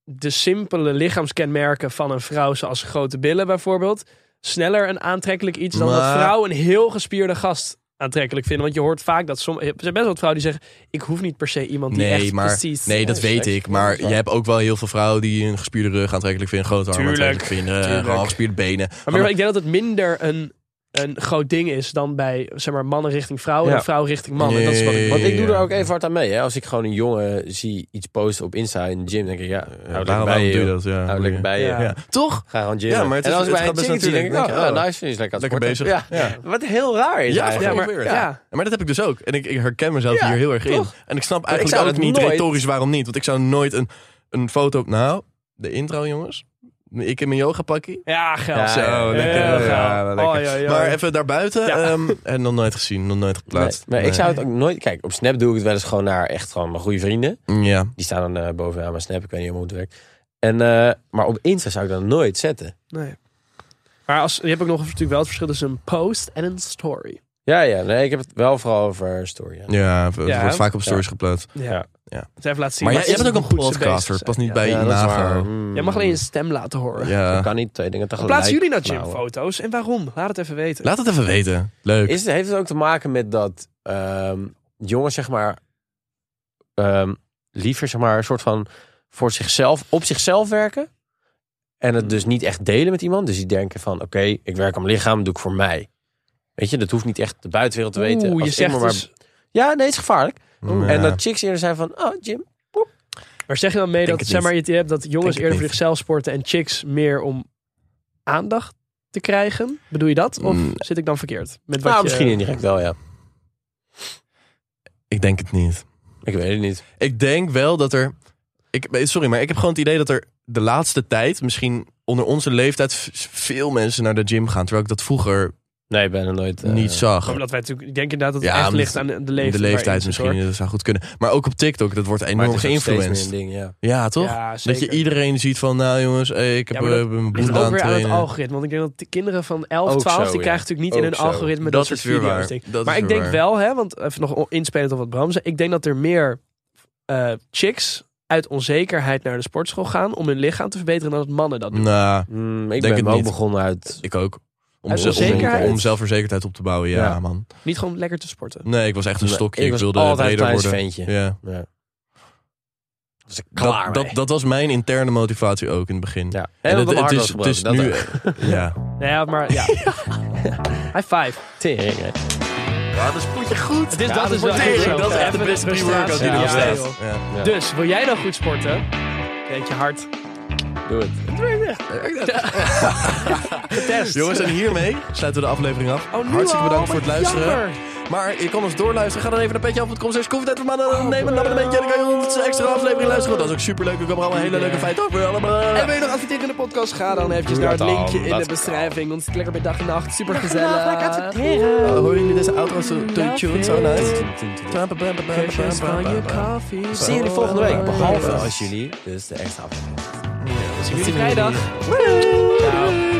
S1: de simpele lichaamskenmerken van een vrouw, zoals grote billen bijvoorbeeld, sneller een aantrekkelijk iets dan dat
S2: Maar-
S1: vrouwen een heel gespierde gast aantrekkelijk vinden. Want je hoort vaak dat sommige, er zijn best wel wat vrouwen die zeggen, ik hoef niet per se iemand die
S2: Nee,
S1: echt
S2: maar,
S1: precies...
S2: nee, dat
S3: Ja,
S2: weet
S3: seks,
S2: ik.
S3: ja,
S2: Maar
S3: dat is
S2: je
S3: waar.
S2: hebt ook wel heel veel vrouwen die een gespierde rug aantrekkelijk vinden, grote armen
S1: Tuurlijk,
S2: aantrekkelijk vinden, eh,
S1: tuurlijk.
S2: gewoon gespierde benen.
S1: Maar meer, ik denk dat het minder een, een groot ding is dan bij zeg maar, mannen richting vrouwen
S3: Ja.
S1: en vrouwen richting mannen. Dat is wat ik...
S2: Nee.
S3: Want ik doe
S2: Ja.
S3: er ook even hard aan mee. Hè. Als ik gewoon een jongen zie iets posten op Insta in de gym, denk ik, ja, hou
S2: Ja,
S3: lekker
S2: waarom
S3: bij
S2: waarom
S3: je.
S2: doe je
S3: joh.
S2: dat? Ja,
S3: Hou lekker bij je.
S1: Ja.
S2: Ja. Toch?
S3: Ga gewoon gymmen.
S2: Ja, maar het
S3: en
S2: is-
S3: als ik
S2: het
S3: bij een
S2: gaat best
S3: chick zie, denk ik,
S2: natuurlijk.
S3: oh,
S2: Ja.
S3: nice, die is lekker aan het
S2: Lekker
S3: sporten.
S2: bezig.
S3: Ja. Wat heel raar is
S2: Ja,
S3: eigenlijk.
S2: ja,
S1: maar-
S2: maar,
S1: ja.
S2: dat heb ik dus ook. En ik, ik herken mezelf
S3: Ja,
S2: hier heel erg
S3: toch?
S2: in. En ik snap
S3: ik
S2: eigenlijk
S3: zou
S2: ook
S3: dat
S2: niet
S3: nooit-
S2: retorisch waarom niet. Want ik zou nooit een, een foto... Nou, de intro jongens. Ik in mijn yoga pakkie.
S1: Ja,
S3: Ja,
S1: geld.
S2: Zo,
S3: ja,
S2: lekker.
S1: Ah, ja,
S2: Ja,
S1: ja.
S2: lekker.
S1: Oh, ja, ja.
S2: Maar even daarbuiten.
S1: Ja.
S2: ehm, en nog nooit gezien, nog nooit
S3: Nee,
S2: geplaatst.
S3: maar ik
S2: Nee.
S3: zou het ook nooit... Kijk, op Snap doe ik het wel eens gewoon naar echt gewoon mijn goede vrienden.
S2: Ja,
S3: Die staan dan eh, bovenaan mijn Snap. Ik weet niet helemaal hoe het werkt. En, eh, maar op Insta zou ik dat nooit zetten.
S1: Nee. Maar als, je hebt ook nog natuurlijk wel het verschil tussen een post en een story.
S3: Ja, ja. Nee, ik heb het wel vooral over story. Ja.
S2: ja het
S1: Ja,
S2: wordt
S1: hè?
S2: vaak op stories geplaatst.
S3: Ja.
S1: Dus even laten zien.
S2: Maar jij,
S1: wat
S2: jij
S1: is
S2: bent ook
S1: het
S2: een
S1: hoe ze bezig
S2: podcaster. Het
S1: zijn.
S2: past niet
S1: Ja.
S2: bij
S3: Ja,
S2: je
S3: dat is
S2: navel.
S3: waar. Mm.
S1: Jij mag
S2: Eh.
S1: alleen je stem laten horen.
S2: Ja.
S3: Dat kan niet twee dingen tegelijk.
S1: Plaatsen jullie nou
S3: Nou,
S1: gymfoto's? En waarom? Laat het even weten.
S2: Laat het even weten. Leuk.
S3: Is het, heeft het ook te maken met dat ehm, jongens, zeg maar, ehm, liever zeg maar, een soort van voor zichzelf, op zichzelf werken. En het dus niet echt delen met iemand. Dus die denken van, oké, ik werk aan mijn lichaam, doe ik voor mij. Weet je, dat hoeft niet echt de buitenwereld te weten.
S1: Oeh,
S3: Als
S1: je
S3: ik
S1: zegt
S3: maar maar-
S1: dus-
S3: Ja, nee, het is gevaarlijk.
S2: Hmm. Ja.
S3: En dat chicks eerder zijn van, oh, Jim.
S1: Maar zeg je dan mee
S2: Denk
S1: dat,
S2: het
S1: zeg
S2: niet.
S1: maar, je het hebt dat jongens
S2: het
S1: eerder voor
S2: niet.
S1: zichzelf sporten en chicks meer om aandacht te krijgen? Bedoel je dat? Of
S2: Mm.
S1: zit ik dan verkeerd? Met wat
S3: Nou,
S1: je-
S3: misschien indirect wel, ja.
S2: Ik denk het niet.
S3: Ik weet het niet.
S2: Ik denk wel dat er. Ik, sorry, maar ik heb gewoon het idee dat er de laatste tijd, misschien onder onze leeftijd, v- veel mensen naar de gym gaan. Terwijl ik dat vroeger
S3: Nee, bijna nooit. eh,
S2: niet zag.
S1: Omdat wij natuurlijk, ik denk inderdaad dat het
S2: Ja,
S1: echt
S2: omdat-
S1: ligt aan de leeftijd.
S2: de
S1: waarin het
S2: leeftijd
S1: zit,
S2: misschien,
S1: hoor.
S2: dat zou goed kunnen. Maar ook op TikTok, dat wordt
S3: Maar
S2: enorm
S3: het is nog steeds
S2: geïnfluenced.
S3: meer een ding, ja.
S2: Ja, toch?
S1: Ja,
S2: dat je
S1: zeker.
S2: iedereen ziet van, nou jongens, eh, ik
S1: Ja,
S2: heb
S1: maar
S2: eh,
S1: dat
S2: mijn
S1: ligt
S2: broer
S1: ook
S2: aan het
S1: weer aan het
S2: trainen.
S1: algoritme. Want ik denk dat de kinderen van 11,
S3: Ook
S1: 12...
S3: zo,
S1: die
S3: ja.
S1: krijgen natuurlijk niet
S3: Ook
S1: in hun
S3: zo.
S1: algoritme dat,
S2: Dat
S1: soort
S2: is weer
S1: video's.
S2: waar.
S1: denk ik.
S2: Dat is
S1: maar ik
S2: weer
S1: denk
S2: waar.
S1: wel, hè, want even nog o- inspelend op wat Bram zei... ik denk dat er meer eh, chicks uit onzekerheid naar de sportschool gaan... om hun lichaam te verbeteren dan dat mannen dat doen.
S2: Nou,
S3: Mm, ik
S2: Denk
S3: ben
S2: het
S3: ook
S2: niet.
S3: begonnen uit
S2: ik ook. Om,
S1: Uit
S2: ze- om-
S1: onzekerheid?
S2: om zelfverzekerdheid op te bouwen, ja,
S3: Ja.
S2: man.
S1: Niet gewoon lekker te sporten.
S2: Nee, ik was echt een stokje. Ik,
S3: was
S2: wilde
S3: altijd een
S2: breder
S3: klein
S2: worden.
S3: ventje.
S2: Ja.
S3: Ja. Was ik klaar
S2: Dat, dat, dat was mijn interne motivatie ook in het begin.
S3: ja.
S2: En
S3: En,
S2: het-
S3: dat eh,
S2: het
S3: het,
S2: is- het is nu- ja.
S1: Nou ja, maar ja. High five.
S3: Tering, hè.
S1: Het is, dat is wel
S2: Tering,
S1: zo.
S2: dat is echt de
S1: Even
S2: beste pre-workout
S1: frustratie.
S2: die er
S1: Ja,
S2: bestaat.
S1: joh.
S2: Ja.
S1: Dus, wil jij nou goed sporten? Weet je hard.
S3: Doe het.
S1: Getest.
S2: Jongens, en hiermee sluiten we de aflevering af.
S1: Oh, nu
S2: Hartstikke
S1: al?
S2: bedankt voor het
S1: Wat
S2: luisteren.
S1: jammer.
S2: Maar je kan ons doorluisteren. Ga dan even naar petjeaf.com. Zeg koffietijd voor
S1: Oh,
S2: maanden. Neem een abonnementje. En dan kan je onze extra aflevering luisteren. Dat is ook superleuk. Er komen allemaal hele leuke feiten over. Allemaal.
S4: En wil je nog adverteren in de podcast? Ga dan eventjes naar het
S3: dat dan,
S4: linkje in
S3: dat
S4: de
S3: kan.
S4: beschrijving. Ons lekker bij dag en nacht. Super gezellig.
S2: Oh, horen jullie deze outro zo tuned? Zo nice.
S1: Kusjes van je koffie.
S3: Zien jullie volgende week. Behalve
S1: Ja.
S3: als jullie dus de extra aflevering.
S1: Zien jullie vrijdag.
S2: Doei.
S1: Ciao.